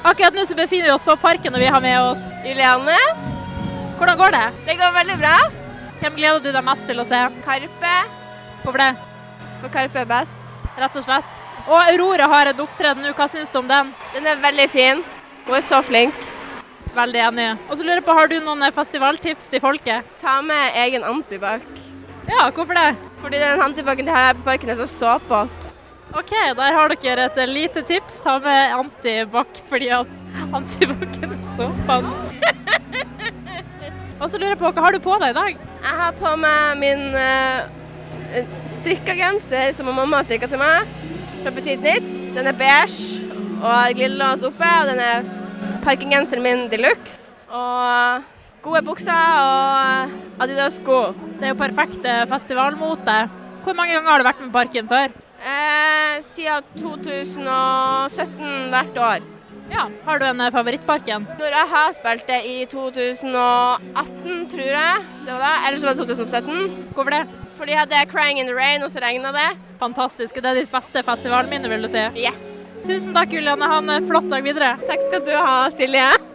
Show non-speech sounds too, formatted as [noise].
Akkurat nå så befinner vi oss på parken, og vi har med oss Juliane, Hvordan går det? det går veldig bra. Hvem gleder du deg mest til å se? Karpe, Hvorfor det? for Karpe er best. Rett og slett. Og Aurora har en opptreden nå, hva syns du om den? Den er veldig fin. Hun er så flink. Veldig enig. Og så lurer jeg på, har du noen eh, festivaltips til folket? Ta med egen antibac. Ja, hvorfor det? Fordi den antibacen de har her på parken er så såpete. OK, der har dere et eh, lite tips. Ta med antibac, fordi at [laughs] antibac-en er såpete. [laughs] Og så lurer jeg på, hva har du på deg i dag? Jeg har på meg min uh, strikka genser som mamma har strikka til meg fra Petit Nytt. Den er beige og har glidelås oppe, og den er parkinggenseren min de luxe. Og gode bukser og Adidas-sko. Det er jo perfekt eh, festivalmote. Hvor mange ganger har du vært med Parken før? Eh, siden 2017 hvert år. Ja, Har du en eh, favorittparken? Når jeg har spilt det i 2018, tror jeg det var det, eller så var det 2017. Hvorfor det? For de hadde 'Crying in the Rain', og så regna det. Fantastisk. Det er ditt beste festivalminne, vil du si. Yes! Tusen takk, Julianne. Ha en eh, flott dag videre. Takk skal du ha, Silje.